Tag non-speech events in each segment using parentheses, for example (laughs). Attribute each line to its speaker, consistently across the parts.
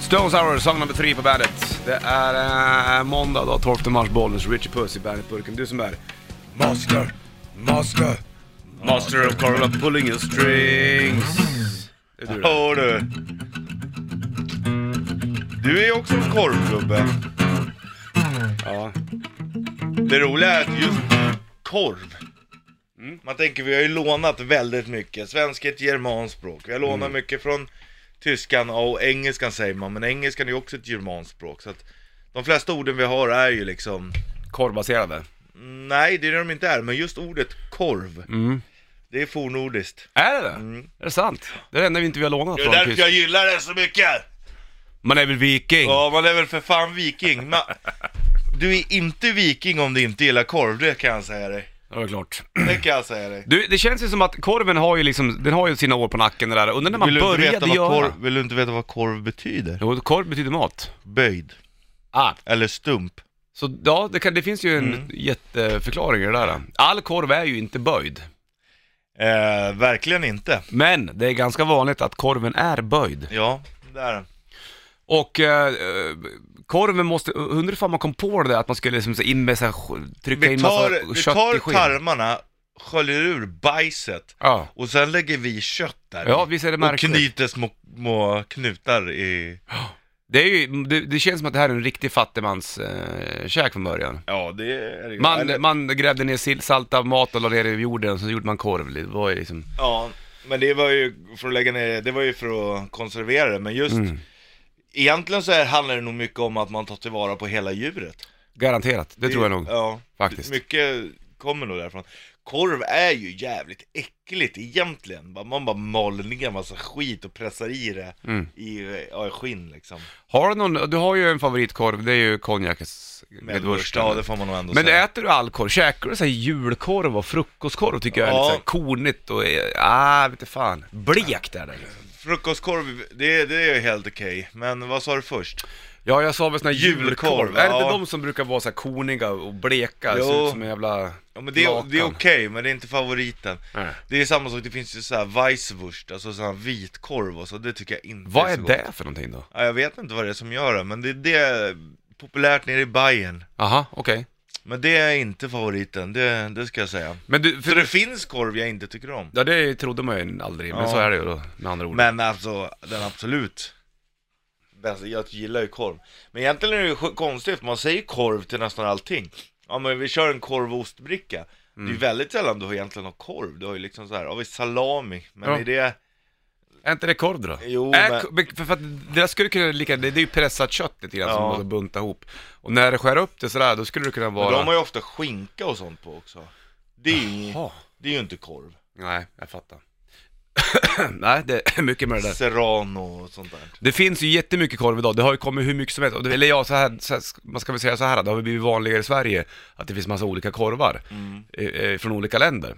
Speaker 1: Stones Hour, song number three på bandet. Det är eh, måndag dag 12 mars, Bollnäs, Richie Puss i bandet-burken. Du som är Master, Master, Master of Carla pulling your strings. Det är du det.
Speaker 2: Hör du. Du är ju också en korvgubbe.
Speaker 1: Ja.
Speaker 2: Det roliga är att just korv. Mm, Man tänker vi har ju lånat väldigt mycket. Svenska är ett germanskt språk. Vi har lånat
Speaker 1: Mm.
Speaker 2: mycket från tyskan och engelskan säger man. Men engelskan är ju också ett germanskt språk. Så att de flesta orden vi har är ju liksom
Speaker 1: Korvbaserade.
Speaker 2: Nej, det är det de inte är, men just ordet korv,
Speaker 1: Mm.
Speaker 2: det är fornordiskt.
Speaker 1: Är det Är det sant? Det är det enda vi inte vi har lånat
Speaker 2: Mm. Det är
Speaker 1: från
Speaker 2: därför
Speaker 1: tysk.
Speaker 2: jag gillar det så mycket!
Speaker 1: Man är väl viking?
Speaker 2: Ja, man är väl för fan viking. Man... Du är inte viking om du inte gillar korv, det kan jag säga dig.
Speaker 1: Ja, det är klart.
Speaker 2: Det kan jag säga dig.
Speaker 1: Du, det känns ju som att korven har ju liksom, den har ju sina år på nacken det där. Undrar när man
Speaker 2: Vill du, inte veta
Speaker 1: började
Speaker 2: vad
Speaker 1: göra...
Speaker 2: korv, vill du inte veta vad korv betyder?
Speaker 1: Jo, korv betyder mat.
Speaker 2: Böjd,
Speaker 1: Ah.
Speaker 2: eller stump.
Speaker 1: Så ja, det, kan, det finns ju en
Speaker 2: Mm.
Speaker 1: jätteförklaring i det där. All korv är ju inte böjd.
Speaker 2: Eh, verkligen inte.
Speaker 1: Men det är ganska vanligt att korven är böjd.
Speaker 2: Ja, där.
Speaker 1: Och eh, eh, korven måste, undrar ifall man kom på det där att man skulle liksom så in med så här, trycka
Speaker 2: Vi
Speaker 1: in massa
Speaker 2: tar, vi
Speaker 1: kött i
Speaker 2: tar
Speaker 1: skeden.
Speaker 2: tarmarna, sköljer ur bajset
Speaker 1: Ja.
Speaker 2: och sen lägger vi kött där
Speaker 1: ja,
Speaker 2: i.
Speaker 1: visst är det
Speaker 2: Och
Speaker 1: märkligt.
Speaker 2: knyter små, små knutar i...
Speaker 1: Det, är ju, det, det känns som att det här är en riktig fattigmans eh, käk från början.
Speaker 2: Ja, det är det
Speaker 1: Man,
Speaker 2: Eller-
Speaker 1: man grävde ner sill, saltad mat och la ner det i jorden och så gjorde man korv. Det var ju liksom...
Speaker 2: Ja, men det var ju för att lägga ner, det var ju för att konservera det, men just
Speaker 1: Mm.
Speaker 2: Egentligen så här handlar det nog mycket om att man tar tillvara på hela djuret.
Speaker 1: Garanterat, det, tror jag nog.
Speaker 2: Ja,
Speaker 1: faktiskt.
Speaker 2: Mycket kommer nog därifrån. Korv är ju jävligt äckligt egentligen. Man bara mal ner massa skit och pressar i det
Speaker 1: Mm.
Speaker 2: i, ja, i skinn liksom.
Speaker 1: Har du någon, du har ju en favoritkorv, det är ju konjakens
Speaker 2: Medvurst, ja det får man nog ändå
Speaker 1: Men
Speaker 2: säga.
Speaker 1: äter du all korv? Käkar du så här julkorv och frukostkorv tycker jag är
Speaker 2: Ja.
Speaker 1: lite så här kornigt och, eh, ah, vet du fan. Blekt är det. liksom.
Speaker 2: Frukostkorv, det, det är helt okej. Men vad sa du först?
Speaker 1: Ja, jag sa väl såna här julkorv.
Speaker 2: Julkorv,
Speaker 1: Är det
Speaker 2: ja.
Speaker 1: inte de som brukar vara så här korniga och bleka,
Speaker 2: Jo.
Speaker 1: ser ut som en jävla
Speaker 2: Ja, men det, är-
Speaker 1: lakan?
Speaker 2: det är okej, men det är inte favoriten.
Speaker 1: Nej.
Speaker 2: Det är samma sak, det finns ju såhär weisswurst, alltså sån här vitkorv och så, det tycker jag inte
Speaker 1: Vad är
Speaker 2: så gott.
Speaker 1: det för någonting då?
Speaker 2: Ja, jag vet inte vad det är som gör det, men det är det populärt nere i Bayern.
Speaker 1: Aha, okej.
Speaker 2: Men det är inte favoriten, det, det ska jag säga.
Speaker 1: Men du,
Speaker 2: Så
Speaker 1: för,
Speaker 2: det finns korv jag inte tycker om.
Speaker 1: ja det trodde man ju aldrig, men
Speaker 2: Ja.
Speaker 1: så är det ju då, med andra ord.
Speaker 2: Men alltså, den absolut bästa, jag gillar ju korv. Men egentligen är det ju sj- konstigt, för man säger korv till nästan allting. Ja men vi kör en korv och ostbricka. Det är
Speaker 1: Mm.
Speaker 2: ju väldigt sällan du har egentligen har korv, du har ju liksom så här, ja vi salami, men
Speaker 1: Ja.
Speaker 2: är det...
Speaker 1: Är inte det korv då?
Speaker 2: Jo,
Speaker 1: är,
Speaker 2: men-
Speaker 1: ko- men... För, för att det där skulle kunna lika, det, det är ju pressat kött lite grann som
Speaker 2: Ja.
Speaker 1: man ska bunta ihop. Och när det skär upp det sådär, då skulle det kunna
Speaker 2: Men
Speaker 1: vara...
Speaker 2: de har ju ofta skinka och sånt på också. Det är, ju-
Speaker 1: Jaha.
Speaker 2: det är ju inte korv.
Speaker 1: Nej, jag fattar. (coughs) Nej, det är mycket med det där.
Speaker 2: Serrano och sånt där.
Speaker 1: Det finns ju jättemycket korv idag, det har ju kommit hur mycket som helst. Och det- Eller ja, så här, så här, man ska väl säga så här, det har väl blivit vanligare i Sverige att det finns massa olika korvar
Speaker 2: Mm.
Speaker 1: eh, eh, från olika länder.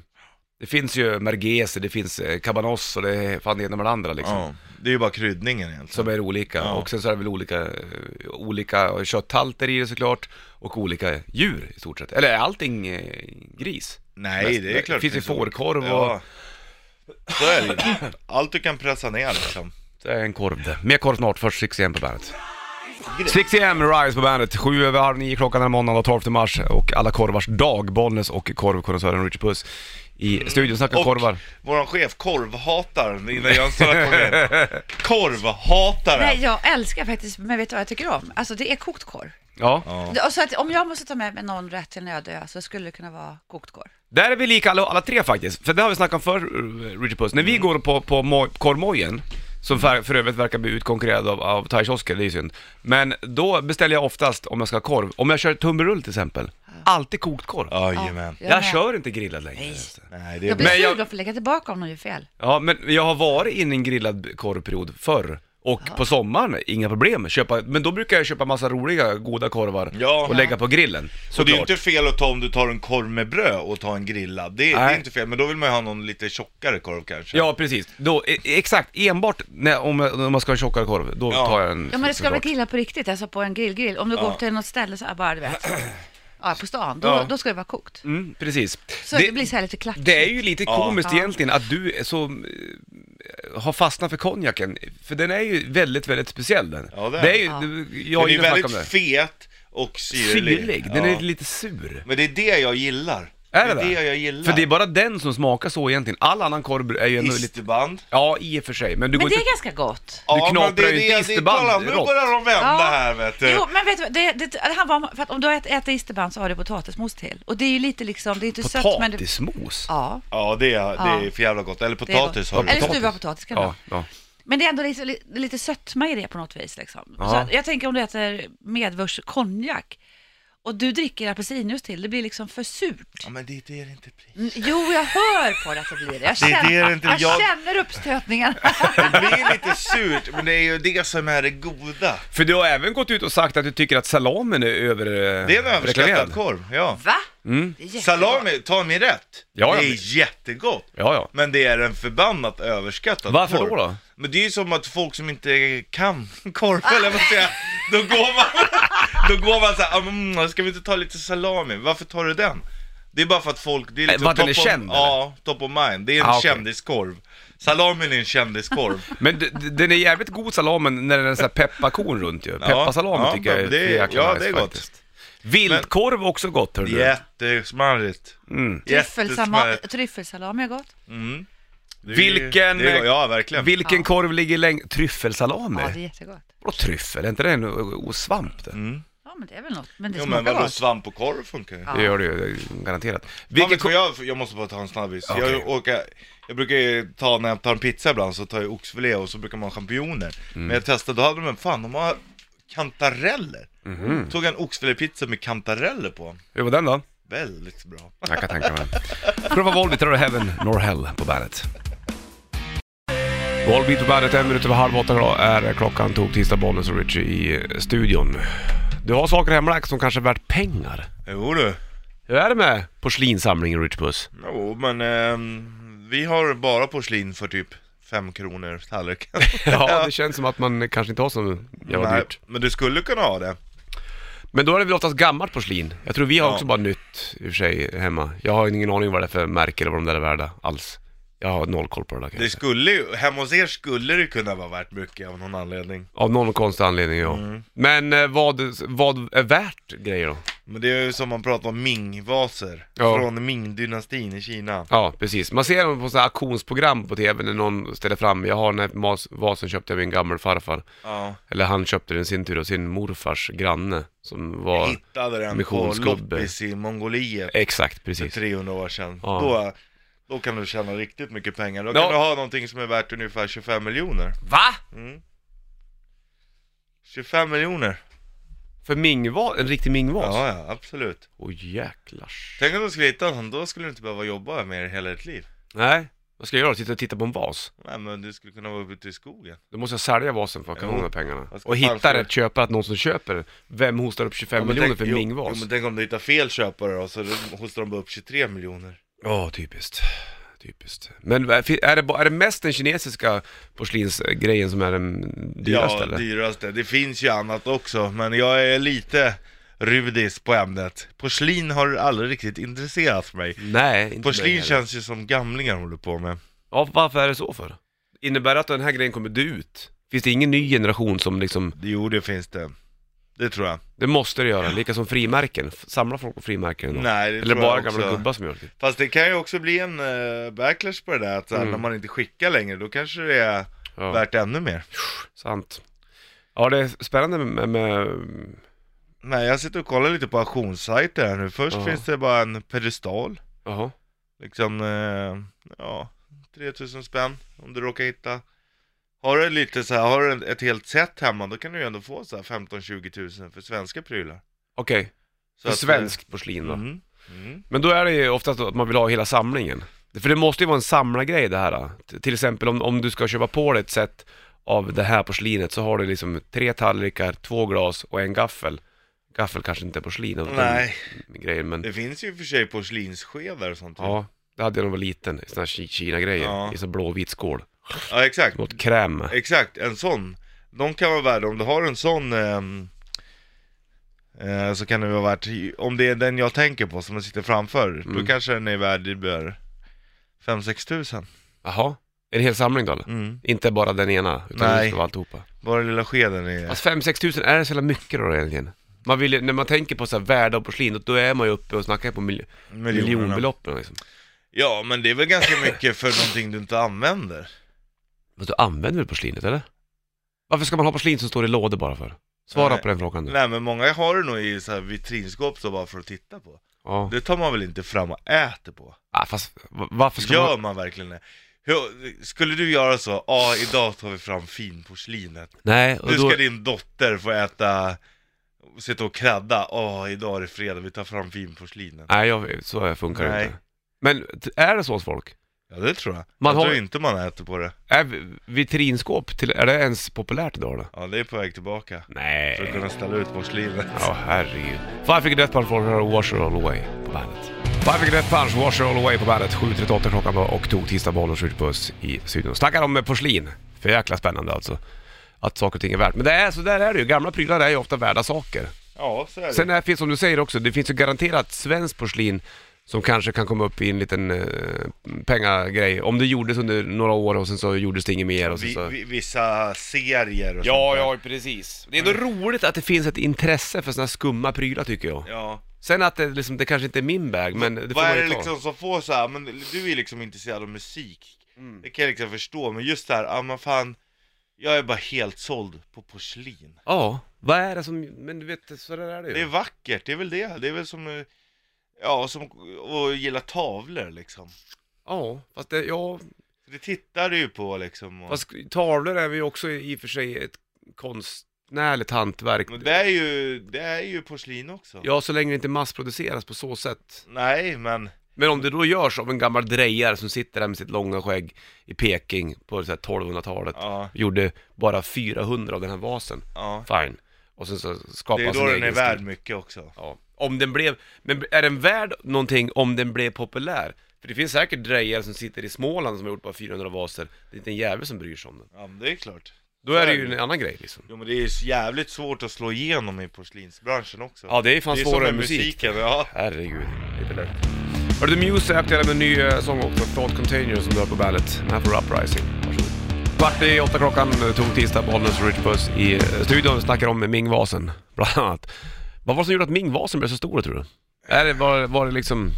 Speaker 1: Det finns ju merguez, det finns eh, cabanos och det är fan det ena med det andra liksom.
Speaker 2: Ja, det är ju bara kryddningen egentligen.
Speaker 1: Som är olika.
Speaker 2: Ja.
Speaker 1: Och sen så är det väl olika, eh, olika kötthalter i det såklart. Och olika djur i stort sett. Eller är allting eh, gris?
Speaker 2: Nej, det är klart.
Speaker 1: Det finns ju fårkorv och
Speaker 2: Ja. Så är det ju. Allt du kan pressa ner liksom.
Speaker 1: det är en korv det. Mer korv snart, först 6 på bandet. 6 Rise på bandet. Sju över halv nio klockan är måndag den 12 mars och alla korvars dag. Bollnäs och korvkonnässören Richard Puss
Speaker 3: Mm.
Speaker 1: i studion snackar
Speaker 2: Och
Speaker 1: korvar.
Speaker 2: våran chef, korvhataren, innan Jönsson har kommit in. Korvhataren!
Speaker 3: Nej, jag älskar faktiskt, men vet du vad jag tycker om? Alltså det är kokt korv.
Speaker 1: Ja.
Speaker 2: Ja.
Speaker 3: Och Så att om jag måste ta med mig någon rätt till när jag dör så skulle det kunna vara kokt korv.
Speaker 1: Där är vi lika alla, alla tre faktiskt, för det har vi snackat om förr, eh, Richard Puss. När
Speaker 3: Mm.
Speaker 1: vi går på, på moj, korvmojen, som för, för övrigt verkar bli utkonkurrerad av, av thaikiosker, det är ju synd. Men då beställer jag oftast, om jag ska ha korv, om jag kör tunnbrödsrulle till exempel, alltid kokt korv.
Speaker 2: Jajamän.
Speaker 3: Ja,
Speaker 1: Jag
Speaker 3: med.
Speaker 1: kör inte grillad längre.
Speaker 3: Nej.
Speaker 2: Nej, det är bra.
Speaker 3: Jag blir
Speaker 1: Men
Speaker 3: sur
Speaker 1: jag-
Speaker 3: då för att lägga tillbaka om de gör fel.
Speaker 1: Ja, men jag har varit inne i en grillad korvperiod förr. Och på sommaren, inga problem. Köpa, men då brukar jag köpa massa roliga, goda korvar
Speaker 2: Ja.
Speaker 1: och lägga på grillen.
Speaker 2: Så det är ju
Speaker 1: Såklart.
Speaker 2: inte fel att ta om du tar en korv med bröd och tar en grillad. Det, det
Speaker 1: Nej.
Speaker 2: är inte fel, men då vill man ju ha någon lite tjockare korv kanske.
Speaker 1: Ja, precis. Då, e- exakt, enbart när, om, om man ska ha en tjockare korv, då
Speaker 2: Ja.
Speaker 1: tar jag en
Speaker 3: Ja, men det ska
Speaker 1: såklart.
Speaker 3: väl grilla på riktigt, alltså på en grillgrill. Om du går till något ställe så här bara,
Speaker 1: (clears throat)
Speaker 3: du vet, ja, på stan, då,
Speaker 1: Ja.
Speaker 3: då ska det vara kokt.
Speaker 1: Mm, precis.
Speaker 3: Så det, blir så här lite klart.
Speaker 1: det är ju lite
Speaker 2: Ja.
Speaker 1: komiskt egentligen att du är så eh, har fastnat för konjaken. För den är ju väldigt, väldigt speciell den.
Speaker 2: Ja, det är
Speaker 1: det är ju,
Speaker 3: den.
Speaker 1: det- jag
Speaker 2: Den
Speaker 1: har
Speaker 2: är ju
Speaker 1: ju snackat om
Speaker 2: väldigt
Speaker 1: det.
Speaker 2: fet och syrlig.
Speaker 1: Syrlig, den
Speaker 2: Ja.
Speaker 1: är lite sur.
Speaker 2: Men det är det jag gillar.
Speaker 1: Är det
Speaker 2: det?
Speaker 1: det?
Speaker 2: jag gillar.
Speaker 1: För det är bara den som smakar så egentligen. All annan korv är ju ändå lite...
Speaker 2: Isterband.
Speaker 1: Ja, i och för sig, men du
Speaker 3: Men
Speaker 1: går
Speaker 3: det
Speaker 1: inte...
Speaker 3: är ganska gott.
Speaker 2: Ja, men
Speaker 1: knaprar ju inte isterband
Speaker 2: kolla, Nu
Speaker 1: rått.
Speaker 2: börjar de vända här vet du.
Speaker 3: Jo, men vet du vad, det, det, det handlar om, för att om du äter, äter isterband så har du potatismos till. Och det är ju lite liksom, det är inte sött men... Det,
Speaker 1: Potatismos?
Speaker 3: ja,
Speaker 2: Ja det är, det är
Speaker 3: Ja.
Speaker 2: för jävla gott. Eller
Speaker 3: det är
Speaker 2: potatis har
Speaker 3: gott.
Speaker 2: du.
Speaker 3: Eller
Speaker 1: potatis?
Speaker 3: stuvad potatis kan det
Speaker 1: Ja,
Speaker 3: vara.
Speaker 1: ja.
Speaker 3: Men det är ändå lite, lite, lite sötma i det på något vis liksom. Så
Speaker 1: Ja.
Speaker 3: att jag tänker om du äter medvörs konjak och du dricker apelsinjuice till, det blir liksom för surt.
Speaker 2: Ja men det det är det inte. Pri.
Speaker 3: Mm, Jo, jag hör på det att det blir det. Jag
Speaker 2: Det är
Speaker 3: känner,
Speaker 2: det inte
Speaker 3: jag
Speaker 2: jag-
Speaker 3: känner
Speaker 2: (laughs)
Speaker 3: uppstötningen.
Speaker 2: Det blir lite surt men det är ju det som är det goda.
Speaker 1: För du har även gått ut och sagt att du tycker att salamen är över... eh,
Speaker 2: Det är en överskattad korv. Ja.
Speaker 3: Va?
Speaker 1: Mm.
Speaker 3: Det är jättebra.
Speaker 2: Salami, ta mig rätt.
Speaker 1: Ja, ja,
Speaker 2: det är
Speaker 1: men-
Speaker 2: jättegott.
Speaker 1: Ja, ja.
Speaker 2: Men det är en förbannat överskattad
Speaker 1: Varför
Speaker 2: korv.
Speaker 1: då då?
Speaker 2: Men det är ju som att folk som inte kan (laughs) korv, eller vad säger jag, då går man, (laughs) då går man såhär, mm, ska vi inte ta lite salami? Varför tar du den? Det är bara för att folk, det är liksom
Speaker 1: Äh, vad den är
Speaker 2: of,
Speaker 1: känd,
Speaker 2: Ja, top of mind. Det är en
Speaker 1: Ah, okej.
Speaker 2: kändiskorv. Salamin är en kändiskorv.
Speaker 1: Men d- d- den är jävligt god salamen när den är så här pepparkorn runt ju. (laughs) Pepparsalami
Speaker 2: ja,
Speaker 1: tycker jag är
Speaker 2: men det-
Speaker 1: jäkla
Speaker 2: ja,
Speaker 1: nice
Speaker 2: det är gott.
Speaker 1: faktiskt. Vildkorv också gott hörru.
Speaker 2: Jättesmarrigt.
Speaker 1: Mm.
Speaker 3: Tryffelsama- Tryffelsalami är gott.
Speaker 2: Mm. Det är-
Speaker 1: Vilken-
Speaker 2: det är, ja, verkligen.
Speaker 1: Vilken
Speaker 3: Ja.
Speaker 1: korv ligger längst? Tryffelsalami?
Speaker 3: Ja, det är jättegott.
Speaker 1: Vadå tryffel? Är inte det en o- o- svamp det?
Speaker 2: Mm.
Speaker 3: Ja, men det är väl något. Men det
Speaker 2: Jo
Speaker 3: smakar
Speaker 2: men vadå,
Speaker 3: gott.
Speaker 2: svamp och korv funkar ju.
Speaker 3: Ja.
Speaker 1: Det gör det ju, det är garanterat.
Speaker 2: Vilken
Speaker 1: Vilken ko-
Speaker 2: jag, jag måste bara ta en snabbis.
Speaker 1: Okej.
Speaker 2: Jag, åker, jag brukar ju ta, när jag tar en pizza ibland så tar jag oxfilé och så brukar man ha champinjoner.
Speaker 1: Mm.
Speaker 2: Men jag testade, då hade de en, fan de har kantareller.
Speaker 1: Mhm.
Speaker 2: Tog en oxfilépizza med kantareller på.
Speaker 1: Hur var den då?
Speaker 2: Väldigt bra.
Speaker 1: Jag kan tänka mig. Prova Volbeat, Rör Heaven, Nor Hell på bandet. Volbeat på bandet, en minut över halv åtta klo- är klockan. Tog tisdag bollen och Richie i eh, studion. Du har saker hemlagt som kanske är värt pengar.
Speaker 2: Jo du.
Speaker 1: Hur är det med porslinsamlingen Richie Puss?
Speaker 2: Jo men ehm, vi har bara porslin för typ 5 kronor tallriken.
Speaker 1: (laughs) Ja, det känns som att man kanske inte har så jävla
Speaker 2: Nej,
Speaker 1: dyrt.
Speaker 2: Men du skulle kunna ha det.
Speaker 1: Men då är det väl oftast gammalt porslin. Jag tror vi har
Speaker 2: Ja.
Speaker 1: också bara nytt i och för sig hemma. Jag har ingen aning vad det är för märke eller vad de där är värda alls. Jag har noll koll på det där kan jag
Speaker 2: Det
Speaker 1: säga.
Speaker 2: skulle ju, hemma hos er skulle det kunna vara värt mycket av någon anledning.
Speaker 1: Av någon konstig anledning ja.
Speaker 2: Mm.
Speaker 1: Men eh, vad, vad är värt grejer då?
Speaker 2: Men det är ju som man pratar om Ming-vaser
Speaker 1: Ja.
Speaker 2: från Ming-dynastin i Kina.
Speaker 1: Ja, precis. Man ser dem på sådana här auktionsprogram på TV när någon ställer fram. Jag har den här mas- vasen köpte jag av min gammal farfar.
Speaker 2: Ja.
Speaker 1: Eller han köpte den i sin tur av sin morfars granne som var...
Speaker 2: Hittade den på
Speaker 1: Missionsgubbe.
Speaker 2: loppis i Mongoliet
Speaker 1: Exakt,
Speaker 2: för
Speaker 1: precis.
Speaker 2: 300 år sedan.
Speaker 1: Ja.
Speaker 2: Då, då kan du tjäna riktigt mycket pengar. Då
Speaker 1: Ja.
Speaker 2: kan du ha någonting som är värt ungefär 25 miljoner.
Speaker 1: Va?
Speaker 2: Mm. 25 miljoner.
Speaker 1: För mingvas? En riktig mingvas? Åh
Speaker 2: Ja, ja, absolut.
Speaker 1: jäklars.
Speaker 2: Tänk om du skulle hitta någon, då skulle du inte behöva jobba mer i hela ditt liv.
Speaker 1: Nej, vad ska jag göra? Titta, titta på en vas?
Speaker 2: Nej, men du skulle kunna vara ute i skogen.
Speaker 1: Då måste jag sälja vasen för att kunna
Speaker 2: Jo.
Speaker 1: ha de här pengarna.
Speaker 2: Jag ska
Speaker 1: Och hitta
Speaker 2: fan-
Speaker 1: rätt köpare, att någon som köper. Vem hostar upp 25
Speaker 2: Ja, men
Speaker 1: miljoner
Speaker 2: tänk-
Speaker 1: för en
Speaker 2: jo,
Speaker 1: mingvas?
Speaker 2: Jo, men tänk om du hittar fel köpare då, så då hostar de bara upp 23 miljoner.
Speaker 1: Ja, typiskt. Typiskt. Men är det, ba- är det mest den kinesiska porslinsgrejen som är den dyraste
Speaker 2: ja,
Speaker 1: eller?
Speaker 2: dyraste. Det finns ju annat också, men jag är lite rudis på ämnet. Porslin har aldrig riktigt intresserat mig.
Speaker 1: Nej, inte mig
Speaker 2: Porslin
Speaker 1: heller.
Speaker 2: känns ju som gamlingar håller på med.
Speaker 1: Ja, varför är det så för? Innebär det att den här grejen kommer dö ut? Finns det ingen ny generation som liksom,
Speaker 2: Jo, det finns det. Det tror jag.
Speaker 1: det måste det göra, lika som frimärken, F- samlar folk på frimärken idag?
Speaker 2: Nej, det
Speaker 1: Eller
Speaker 2: tror
Speaker 1: bara
Speaker 2: jag
Speaker 1: gamla
Speaker 2: också.
Speaker 1: gubbar som gör det?
Speaker 2: Fast det kan ju också bli en eh, backlash på det där, att så här,
Speaker 1: Mm.
Speaker 2: när man inte skickar längre, då kanske det är
Speaker 1: Ja,
Speaker 2: värt ännu mer.
Speaker 1: sant. Ja, det är spännande med, med
Speaker 2: Nej, jag sitter och kollar lite på auktionssajter här nu. Först
Speaker 1: Ja.
Speaker 2: finns det bara en pedestal,
Speaker 1: jaha.
Speaker 2: liksom, eh, ja, 3000 spänn om du råkar hitta. Har du lite så här, har du ett helt set hemma, då kan du ju ändå få så här 15-20 000 för svenska prylar.
Speaker 1: Okej,
Speaker 2: Så
Speaker 1: för
Speaker 2: att, eh,
Speaker 1: svenskt porslin då.
Speaker 2: Mm, mm.
Speaker 1: Men då är det ju oftast att man vill ha hela samlingen. För det måste ju vara en samlargrej det här. då. T- Till exempel om, om du ska köpa på dig ett set av det här porslinet så har du liksom tre tallrikar, två glas och en gaffel. Gaffel kanske inte är porslin av
Speaker 2: Mm. Nej,
Speaker 1: den grejen men
Speaker 2: det typ finns ju i och för sig porslinsskedar och sånt.
Speaker 1: ja, det hade jag när jag var liten. Sådana här Ki- Kina-grejer
Speaker 2: Ja.
Speaker 1: i sån blåvit skål.
Speaker 2: ja exakt.
Speaker 1: Något kräm med.
Speaker 2: Exakt, en sån. De kan vara värda, om du har en sån ehm, eh, så kan det vara värt, om det är den jag tänker på som den sitter framför, då
Speaker 1: Mm.
Speaker 2: kanske den är värd 5-6 tusen.
Speaker 1: Jaha, En hel samling då eller?
Speaker 2: Mm.
Speaker 1: Inte bara den ena, utan
Speaker 2: Nej.
Speaker 1: just av alltihopa.
Speaker 2: Bara lilla skeden är...
Speaker 1: Alltså 5-6 tusen, är det så jävla mycket då egentligen? Man vill ju, när man tänker på så här värde och porslin, då- då är man ju uppe och snackar på mil-
Speaker 2: Miljonerna.
Speaker 1: miljonbeloppen liksom.
Speaker 2: Ja, men det är väl ganska mycket för någonting du inte använder.
Speaker 1: Men du använder väl porslinet eller? Varför ska man ha porslin som står i lådor bara för? Svara
Speaker 2: Nej.
Speaker 1: på den frågan nu.
Speaker 2: Nej, men många har det nog i så här vitrinskåp så bara för att titta på.
Speaker 1: Ja.
Speaker 2: Det tar man väl inte fram och äter på?
Speaker 1: Ah, fast va- varför ska
Speaker 2: Gör
Speaker 1: man...
Speaker 2: man verkligen det? Hur, skulle du göra så, ja idag tar vi fram finporslinet.
Speaker 1: Nej, och
Speaker 2: Nu
Speaker 1: då...
Speaker 2: ska din dotter få äta, sitta och kradda, ja idag är det fredag, vi tar fram finporslinet.
Speaker 1: Nej, jag, så funkar det
Speaker 2: Nej.
Speaker 1: inte. Men t- är det så hos folk?
Speaker 2: Ja det tror jag.
Speaker 1: Man
Speaker 2: jag
Speaker 1: har-
Speaker 2: tror inte man äter på det.
Speaker 1: Är vi- vitrinskåp, till, är det ens populärt idag eller?
Speaker 2: Ja det är på väg tillbaka. För att
Speaker 1: Nej.
Speaker 2: kunna ställa ut porslinet.
Speaker 1: Ja, herregud. Five Finger Death Punch får höra Wash It All Away på bandet. Five Finger Death Punch, Wash It All Away på bandet. 7.38 klockan var och tog tisdag bollen och skjut puss i studion. Snackar om eh, porslin. För jäkla spännande alltså. Att saker och ting är värt. Men det är så där är det ju. Gamla prylar är ju ofta värda saker.
Speaker 2: Ja så är det.
Speaker 1: Sen är, finns som du säger också, det finns ju garanterat svenskt porslin som kanske kan komma upp i en liten eh, pengagrej. Om det gjordes under några år och sen så gjordes det inget mer och sen
Speaker 2: Vi,
Speaker 1: så...
Speaker 2: vi, vissa serier och
Speaker 1: Ja,
Speaker 2: sånt där.
Speaker 1: ja precis. Det är ändå roligt att det finns ett intresse för såna här skumma prylar tycker jag.
Speaker 2: ja.
Speaker 1: Sen att det, liksom, det kanske inte är min väg, men det får
Speaker 2: Vad
Speaker 1: man
Speaker 2: är
Speaker 1: ju
Speaker 2: det
Speaker 1: ta.
Speaker 2: liksom som får så här, men du är liksom intresserad av musik Det kan jag liksom förstå, men just det här, ja men fan Jag är bara helt såld på porslin
Speaker 1: Ja, vad är det som, men du vet, så där är det ju.
Speaker 2: Det är vackert, det är väl det, det är väl som eh, Ja, som att gilla tavlor liksom
Speaker 1: Ja, fast det, ja,
Speaker 2: Det tittar du ju på liksom och...
Speaker 1: fast tavlor är ju också i och för sig ett konstnärligt hantverk.
Speaker 2: Men det är ju, det är ju porslin också
Speaker 1: Ja, så länge det inte massproduceras på så sätt.
Speaker 2: Nej men,
Speaker 1: Men om det då görs av en gammal drejare som sitter där med sitt långa skägg i Peking på så här 1200-talet,
Speaker 2: ja,
Speaker 1: gjorde bara 400 av den här vasen,
Speaker 2: ja
Speaker 1: fine. Och sen så
Speaker 2: Det
Speaker 1: skapas
Speaker 2: är då
Speaker 1: en
Speaker 2: den
Speaker 1: egen
Speaker 2: är
Speaker 1: stil.
Speaker 2: värd mycket också
Speaker 1: Ja. Om den blev, men är den värd någonting om den blev populär? För det finns säkert drejare som sitter i Småland som har gjort bara 400 vaser, det är inte en jävel som bryr sig om den.
Speaker 2: Ja men det är klart
Speaker 1: Då är det ju en annan grej liksom.
Speaker 2: Jo men det är ju så jävligt svårt att slå igenom i porslinsbranschen också
Speaker 1: Ja, det är fan
Speaker 2: det är som
Speaker 1: svårare
Speaker 2: med
Speaker 1: än musik.
Speaker 2: musiken, ja
Speaker 1: Herregud, det är inte lätt. Hörru du, Muse är aktuella med en ny eh, sång också, Thought Container som du har på bandet. Den här får Uprising. Varsågod. Kvart i åtta klockan eh, tog tisdag, Bollnäs och Rich Puss i eh, studion snackar om Ming-vasen, (laughs) bland annat. Vad var det som gjorde att Ming-vasen blev så stor tror du? Är det, var, var det liksom...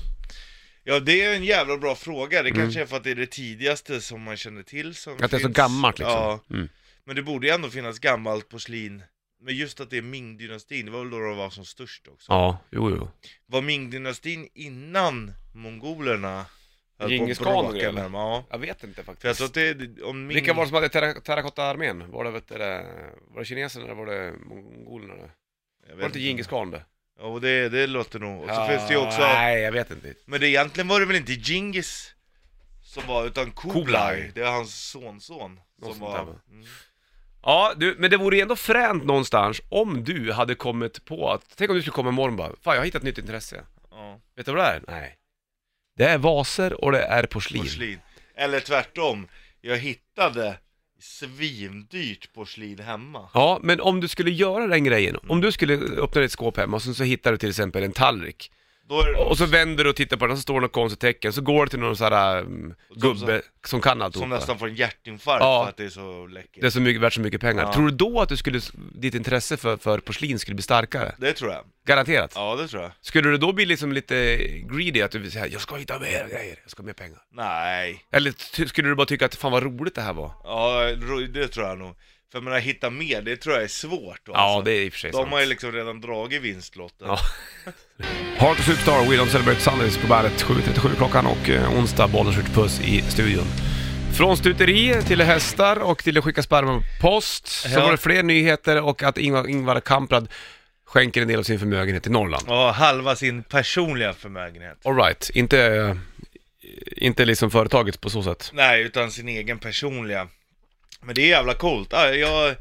Speaker 2: Ja det är en jävla bra fråga, det kanske är för att det är det tidigaste som man känner till som
Speaker 1: Mm. Att det är så
Speaker 2: finns.
Speaker 1: gammalt liksom?
Speaker 2: Ja,
Speaker 1: Mm.
Speaker 2: men det borde ju ändå finnas gammalt porslin Men just att det är Ming-dynastin, det var väl då de var som störst också
Speaker 1: Ja, jo jo.
Speaker 2: Var Ming-dynastin innan mongolerna höll på
Speaker 1: Djingis
Speaker 2: att
Speaker 1: khan och
Speaker 2: bråka
Speaker 1: grejer,
Speaker 2: med dem? Ja,
Speaker 1: Jag vet inte faktiskt.
Speaker 2: för jag tror att det är, om Ming...
Speaker 1: Vilka var det som hade terra- terrakotta-armén? Var det, vet du, det- var det kineserna eller var det mongolerna? Var det
Speaker 2: Jag vet
Speaker 1: inte Djingis khan det?
Speaker 2: Ja, och det, det låter nog, och så
Speaker 1: Ja,
Speaker 2: finns det ju också
Speaker 1: Nej, jag vet inte.
Speaker 2: Men det, egentligen var det väl inte Djingis som var, utan Kublai,
Speaker 1: Kublai.
Speaker 2: det är hans sonson
Speaker 1: Något
Speaker 2: som
Speaker 1: sånt där,
Speaker 2: var...
Speaker 1: va?
Speaker 2: Mm.
Speaker 1: Ja, du, men det vore ju ändå fränt någonstans om du hade kommit på att, tänk om du skulle komma imorgon och bara, fan jag har hittat ett nytt intresse.
Speaker 2: Ja,
Speaker 1: Vet du vad det är? Nej. Det är vaser och det är porslin.
Speaker 2: porslin. Eller tvärtom, jag hittade svindyrt porslin hemma.
Speaker 1: Ja, men om du skulle göra den grejen, om du skulle öppna ditt skåp hemma och sen så hittar du till exempel en tallrik.
Speaker 2: Då är det
Speaker 1: Och så vänder du och tittar på den, så står det något konstigt tecken, så går det till någon sån här um, gubbe som kan
Speaker 2: som
Speaker 1: alltihopa.
Speaker 2: nästan får en hjärtinfarkt
Speaker 1: Ja.
Speaker 2: för att det är så läckert.
Speaker 1: Det är
Speaker 2: Det,
Speaker 1: så mycket, värt så mycket pengar.
Speaker 2: Ja.
Speaker 1: Tror du då att du skulle, ditt intresse för, för porslin skulle bli starkare?
Speaker 2: tror jag.
Speaker 1: Garanterat.
Speaker 2: Ja, det tror jag.
Speaker 1: Skulle du då bli liksom lite greedy, att du vill säga jag ska hitta mer grejer, jag ska ha mer pengar?
Speaker 2: Nej,
Speaker 1: Eller ty- skulle du bara tycka att fan vad roligt det här var?
Speaker 2: ja, ro- det tror jag nog. För jag menar, hitta mer, det tror jag är svårt. Då,
Speaker 1: Ja, det är i och för sig
Speaker 2: Alltså, De
Speaker 1: sant.
Speaker 2: har ju liksom redan dragit vinstlotten.
Speaker 1: Ja. Heart of Superstar, We Don't Celebrate Sundays på bandet 7.37 klockan och eh, onsdag Bollnäs skjuter puss i studion. Från stuteri till hästar och till att skicka sperma på post. Så
Speaker 2: Ja.
Speaker 1: var det fler nyheter och att Ingvar, Ingvar Kamprad skänker en del av sin förmögenhet till Norrland.
Speaker 2: Ja, halva sin personliga förmögenhet.
Speaker 1: Alright, inte, eh, inte liksom företaget på så sätt.
Speaker 2: Nej, utan sin egen personliga. Men det är jävla coolt. Ja, jag,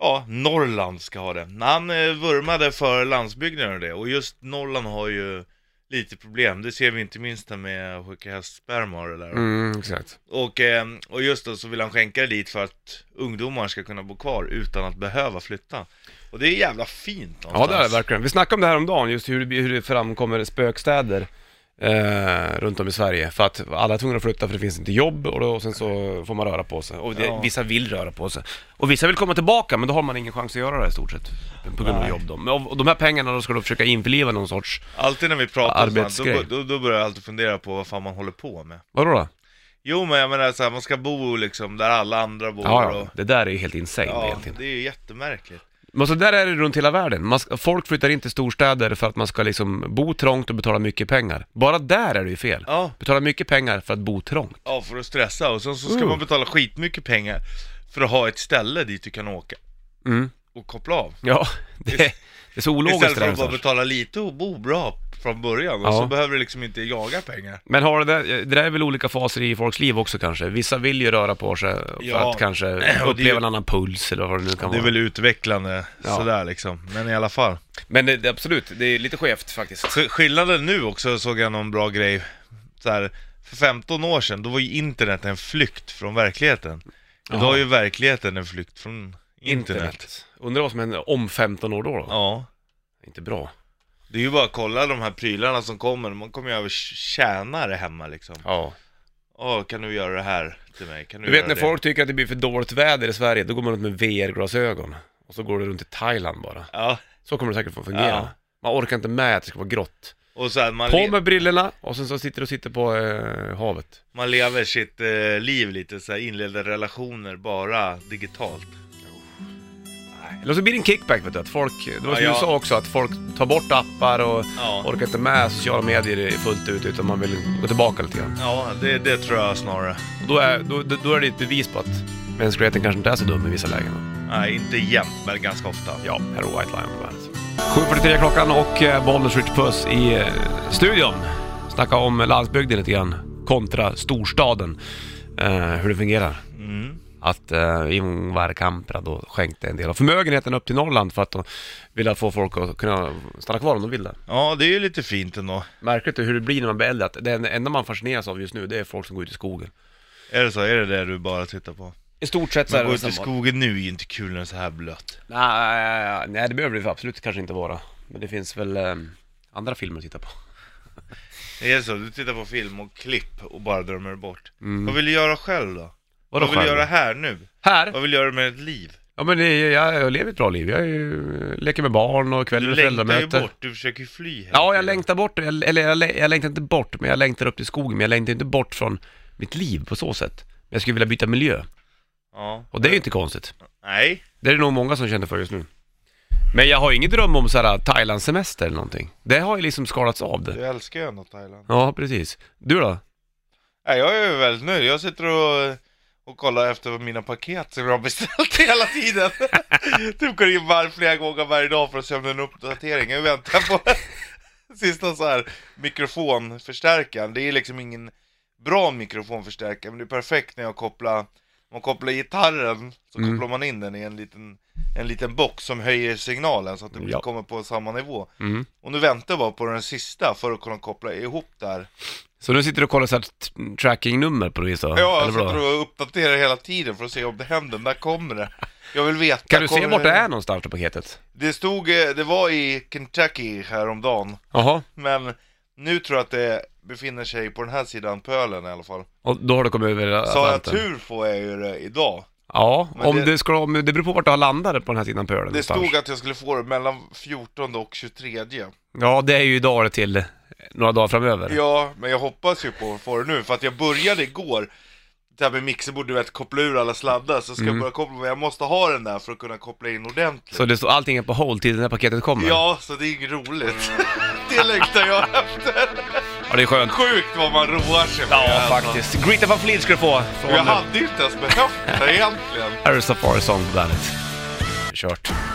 Speaker 2: ja Norrland ska ha det. Han eh, vurmade för landsbygden och det. Och just Norrland har ju lite problem. Det ser vi inte minst här med att skicka hästsperma och det där.
Speaker 1: Mm, exakt.
Speaker 2: Och, eh, och just då så vill han skänka det dit för att ungdomar ska kunna bo kvar utan att behöva flytta. Och det är jävla fint
Speaker 1: Ja
Speaker 2: någonstans.
Speaker 1: det är det verkligen. Vi snackade om det här om dagen, just hur, det- hur det framkommer spökstäder eh, runt om i Sverige. För att alla är tvungna att flytta för det finns inte jobb och, då, och sen så får man röra på sig. Och det,
Speaker 2: Ja.
Speaker 1: vissa vill röra på sig. Och vissa vill komma tillbaka men då har man ingen chans att göra det i stort sett. På grund av
Speaker 2: Nej.
Speaker 1: jobb då. Men av- Och de här pengarna då ska du försöka införliva någon sorts,
Speaker 2: Alltid när vi pratar om sånt,
Speaker 1: Arbetsgrej.
Speaker 2: då, då, då börjar jag alltid fundera på vad fan man håller på med.
Speaker 1: vadå då?
Speaker 2: Jo men jag menar såhär, man ska bo liksom där alla andra bor
Speaker 1: Ja,
Speaker 2: och...
Speaker 1: ja, det där är ju helt insane
Speaker 2: Ja,
Speaker 1: egentligen.
Speaker 2: det är ju jättemärkligt.
Speaker 1: Men så där är det runt hela världen. Man ska, folk flyttar in till storstäder för att man ska liksom bo trångt och betala mycket pengar. Bara där är det ju fel.
Speaker 2: Ja.
Speaker 1: Betala mycket pengar för att bo trångt.
Speaker 2: Ja, för att stressa och sen så ska
Speaker 1: Mm.
Speaker 2: man betala skitmycket pengar för att ha ett ställe dit du kan åka
Speaker 1: Mm.
Speaker 2: och koppla av.
Speaker 1: Ja, (laughs) det, det är så
Speaker 2: Istället
Speaker 1: ologiskt det
Speaker 2: för
Speaker 1: där
Speaker 2: att bara
Speaker 1: någonstans.
Speaker 2: betala lite och bo bra från början och
Speaker 1: Ja.
Speaker 2: så behöver du liksom inte jaga pengar.
Speaker 1: Men har det, där, det där är väl olika faser i folks liv också kanske? Vissa vill ju röra på sig för
Speaker 2: Ja.
Speaker 1: att
Speaker 2: (clears throat)
Speaker 1: kanske
Speaker 2: det är ju-
Speaker 1: uppleva en annan puls eller vad det nu kan
Speaker 2: Det är
Speaker 1: vara.
Speaker 2: väl utvecklande
Speaker 1: Ja.
Speaker 2: sådär liksom, men i alla fall.
Speaker 1: Men det, det- absolut, det är lite skevt faktiskt.
Speaker 2: Så skillnaden nu också såg jag någon bra grej. Så här, för 15 år sedan, då var ju internet en flykt från verkligheten. Idag
Speaker 1: Jaha.
Speaker 2: är ju verkligheten en flykt från internet.
Speaker 1: Undrar vad som händer om 15 år då? då?
Speaker 2: Ja.
Speaker 1: Inte bra.
Speaker 2: Det är ju bara att kolla de här prylarna som kommer, man kommer ju över tjänare hemma liksom.
Speaker 1: Ja.
Speaker 2: Åh, kan du göra det här till mig? Kan du,
Speaker 1: Du vet
Speaker 2: göra
Speaker 1: när
Speaker 2: det?
Speaker 1: folk tycker att det blir för dåligt väder i Sverige, då går man runt med VR-glasögon. Och så går du runt i Thailand bara.
Speaker 2: Ja,
Speaker 1: Så kommer det säkert få fungera.
Speaker 2: Ja.
Speaker 1: Man orkar inte med att det ska vara grått.
Speaker 2: och så här, man,
Speaker 1: På
Speaker 2: le-
Speaker 1: med brillorna och sen så sitter du och sitter på eh, havet.
Speaker 2: man lever sitt eh, liv lite så här, inleder relationer bara digitalt.
Speaker 1: Eller så blir det en kickback vet du, att folk, det var som
Speaker 2: Ja, ja.
Speaker 1: du sa också, att folk tar bort appar och
Speaker 2: Ja.
Speaker 1: orkar inte med sociala medier fullt ut utan man vill gå tillbaka lite grann.
Speaker 2: Ja, det, det tror jag snarare.
Speaker 1: Och Då är, då, då är det ett bevis på att mänskligheten kanske inte är så dum i vissa lägen.
Speaker 2: Nej, inte jämt, men ganska ofta.
Speaker 1: Ja, här är White Lion på bandet. 7.43 klockan och eh, Bollnäs Rich Puss i eh, studion. Snacka om landsbygden lite grann kontra storstaden. Eh, hur det fungerar.
Speaker 2: Mm.
Speaker 1: Att eh, Ingvar Kamprad då skänkte en del av förmögenheten upp till Norrland för att de ville få folk att kunna stanna kvar om de vill det.
Speaker 2: Ja, det är ju lite fint ändå.
Speaker 1: Märkligt hur det blir när man blir äldre, att det enda man fascineras av just nu det är folk som går ut i skogen.
Speaker 2: Är det så? Är det det du bara tittar på?
Speaker 1: I stort sett så
Speaker 2: Men
Speaker 1: är
Speaker 2: gå
Speaker 1: det
Speaker 2: ut i
Speaker 1: samma.
Speaker 2: skogen nu är ju inte kul när det är så här blött.
Speaker 1: Nej, nej, det behöver det absolut kanske inte vara. Men det finns väl eh, andra filmer att titta på.
Speaker 2: Det är så, du tittar på film och klipp och bara drömmer bort. Vad vill du göra själv då?
Speaker 1: Mm. Vadå
Speaker 2: Vad vill du
Speaker 1: själv?
Speaker 2: göra här nu?
Speaker 1: Här?
Speaker 2: Vad vill du göra med ditt liv?
Speaker 1: Ja men det, jag, jag lever ett bra liv. Jag är, ju- leker med barn och
Speaker 2: Du
Speaker 1: kvällar och
Speaker 2: längtar ju
Speaker 1: föräldramöte.
Speaker 2: bort, du försöker ju fly hela
Speaker 1: Ja, jag
Speaker 2: tiden.
Speaker 1: längtar bort. Jag, eller jag, lä- jag längtar inte bort, men jag längtar upp till skogen. Men jag längtar inte bort från mitt liv på så sätt. Men jag skulle vilja byta miljö.
Speaker 2: Ja.
Speaker 1: Och det är ju inte konstigt.
Speaker 2: Nej.
Speaker 1: Det är det nog många som känner för just nu. Men jag har ingen dröm om så här äh, Thailand-semester eller någonting. Det har ju liksom skalats av det.
Speaker 2: Du älskar ju ändå Thailand.
Speaker 1: Ja, precis. Du då?
Speaker 2: Nej, jag är ju väldigt nöjd. Jag sitter och, och kollar efter mina paket som jag har beställt (laughs) hela tiden. typ går in var flera gånger varje dag för att se om det är en uppdatering. Jag väntar på (laughs) sista så här mikrofonförstärkaren. Det är liksom ingen bra mikrofonförstärkare, men det är perfekt när jag kopplar man kopplar gitarren så
Speaker 1: Mm.
Speaker 2: kopplar man in den i en liten, en liten box som höjer signalen så att det
Speaker 1: Ja.
Speaker 2: kommer på samma nivå.
Speaker 1: Mm.
Speaker 2: Och nu väntar jag bara på den sista för att kunna koppla ihop där
Speaker 1: Så nu sitter du och kollar så här t- tracking-nummer på det viset?
Speaker 2: Ja, jag
Speaker 1: Eller vadå?
Speaker 2: sitter och uppdaterar hela tiden för att se om det händer, när kommer det? Jag vill veta.
Speaker 1: Kan du se
Speaker 2: kommer
Speaker 1: vart det är någonstans på paketet?
Speaker 2: Det stod, eh, det var i Kentucky häromdagen,
Speaker 1: Jaha,
Speaker 2: men nu tror jag att det befinner sig på den här sidan pölen i alla fall.
Speaker 1: och då har du kommit över
Speaker 2: Så har jag
Speaker 1: Atlanten.
Speaker 2: tur får jag ju det idag.
Speaker 1: Ja,
Speaker 2: Men
Speaker 1: om det,
Speaker 2: det-
Speaker 1: ska, om, det beror på vart du har landat på den här sidan pölen
Speaker 2: Det
Speaker 1: någonstans.
Speaker 2: stod att jag skulle få det mellan 14 och
Speaker 1: Mm.
Speaker 2: 23.
Speaker 1: Ja, det är ju dagar till några dagar framöver.
Speaker 2: Ja, men jag hoppas ju på att få det nu, för att jag började igår det här med mixerbord, du vet, koppla ur alla sladdar, så ska
Speaker 1: Mm.
Speaker 2: jag börja koppla, men jag måste ha den där för att kunna koppla in ordentligt.
Speaker 1: Så det står allting är på hold till det här paketet kommer?
Speaker 2: Ja, så det är ju roligt. (laughs) Det längtar jag efter.
Speaker 1: Ja, det är skönt.
Speaker 2: Sjukt vad man roar sig med.
Speaker 1: Ja,
Speaker 2: alltså.
Speaker 1: faktiskt. Greta van Fleet ska du få
Speaker 2: Jag
Speaker 1: från
Speaker 2: hade ju inte ens behövt det egentligen.
Speaker 1: Harry Safari Song på bandet. Kört.